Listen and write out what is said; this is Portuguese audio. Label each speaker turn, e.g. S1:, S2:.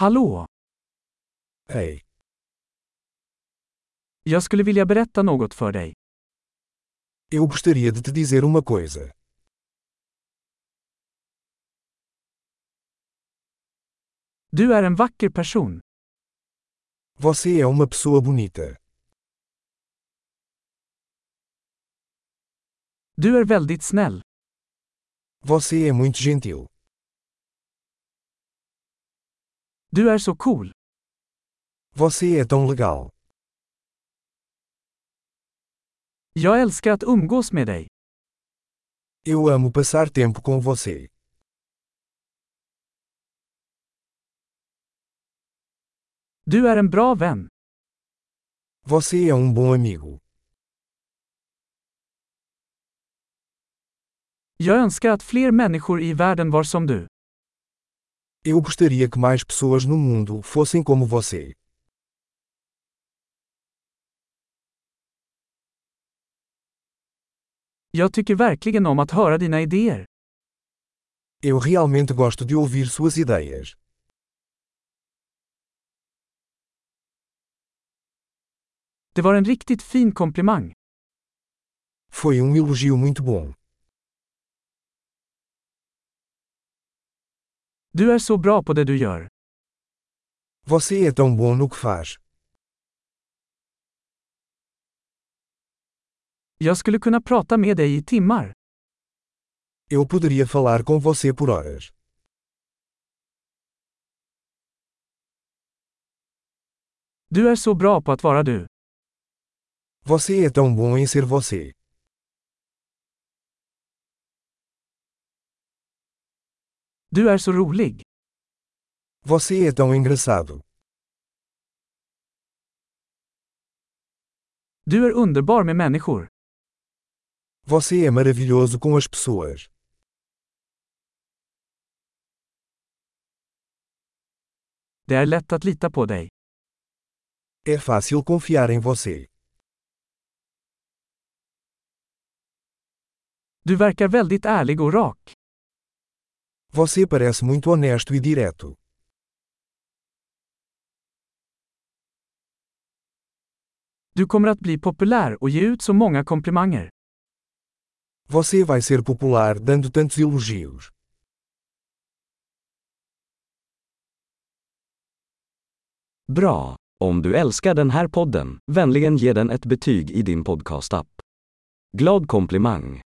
S1: Hallå!
S2: Hej,
S1: Jag skulle vilja berätta något för dig.
S2: eu gostaria de te dizer uma coisa.
S1: Du är en vacker person.
S2: Você é uma pessoa bonita.
S1: Du är väldigt snäll.
S2: Você é muito gentil.
S1: Du är så cool.
S2: Você é tão legal.
S1: Jag älskar att umgås med dig.
S2: Eu amo passar tempo com você.
S1: Du är en bra vän.
S2: Você é um bom amigo.
S1: Jag önskar att fler människor i världen var som du.
S2: Eu gostaria que mais pessoas no mundo fossem como você.
S1: Jag tycker verkligen om att höra dina idéer.
S2: Eu realmente gosto de ouvir suas ideias.
S1: Det var en riktigt fin komplimang.
S2: Foi um elogio muito bom.
S1: Du är så bra på det du gör.
S2: Você é tão bom no que faz.
S1: Jag skulle kunna prata med dig i timmar.
S2: Eu poderia falar com você por horas.
S1: Du är så bra på att vara du.
S2: Você é tão bom em ser você.
S1: Du är så rolig.
S2: Você é tão engraçado.
S1: Du är underbar med människor.
S2: Você é maravilhoso com as pessoas.
S1: Det är lätt att lita på dig.
S2: É fácil confiar em você.
S1: Du verkar väldigt ärlig och rak.
S2: Você parece muito honesto e direto.
S1: Du kommer att bli populär och ge ut så många komplimanger.
S2: Você vai ser popular dando tantos elogios.
S3: Bra! Om du älskar den här podden, vänligen ge den ett betyg i din podcastapp. Glad komplimang!